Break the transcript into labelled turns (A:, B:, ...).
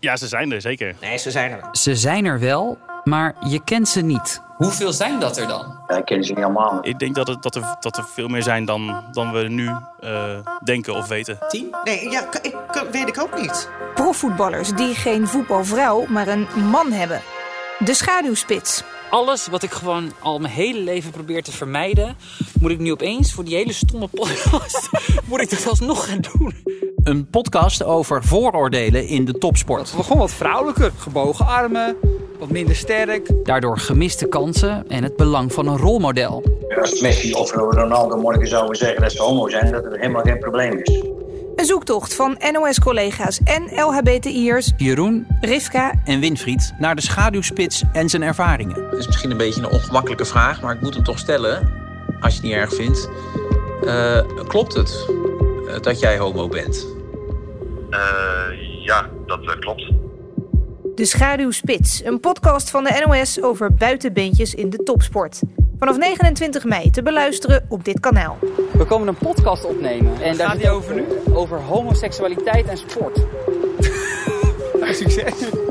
A: Ja, ze zijn er, zeker.
B: Nee, ze zijn er.
C: Ze zijn er wel, maar je kent ze niet.
D: Hoeveel zijn dat er dan?
E: Ja, ik ken ze niet allemaal.
A: Ik denk dat, het, dat, er, dat er veel meer zijn dan, dan we nu eh, denken of weten.
B: Tien? Nee, ja, k- ik, k- weet ik ook niet.
F: Profvoetballers die geen voetbalvrouw, maar een man hebben. De schaduwspits.
D: Alles wat ik gewoon al mijn hele leven probeer te vermijden, moet ik nu opeens voor die hele stomme podcast, moet ik dat alsnog gaan doen.
G: Een podcast over vooroordelen in de topsport.
H: Gewoon wat vrouwelijker. Gebogen armen, wat minder sterk.
C: Daardoor gemiste kansen en het belang van een rolmodel.
E: Als Messi of Ronaldo morgen zouden zeggen dat ze homo zijn, dat het helemaal geen probleem is.
F: Een zoektocht van NOS-collega's en LHBTI'ers.
G: Jeroen
F: Rivka
G: en Winfried naar de schaduwspits en zijn ervaringen.
I: Het is misschien een beetje een ongemakkelijke vraag, maar ik moet hem toch stellen. Als je het niet erg vindt. Eh, klopt het eh, dat jij homo bent?
J: Eh, ja, dat eh, klopt.
F: De Schaduwspits, een podcast van de NOS over buitenbeentjes in de topsport. Vanaf 29 mei te beluisteren op dit kanaal.
D: We komen een podcast opnemen. En
H: Gaat die over nu?
D: Over homoseksualiteit en sport.
H: Succes.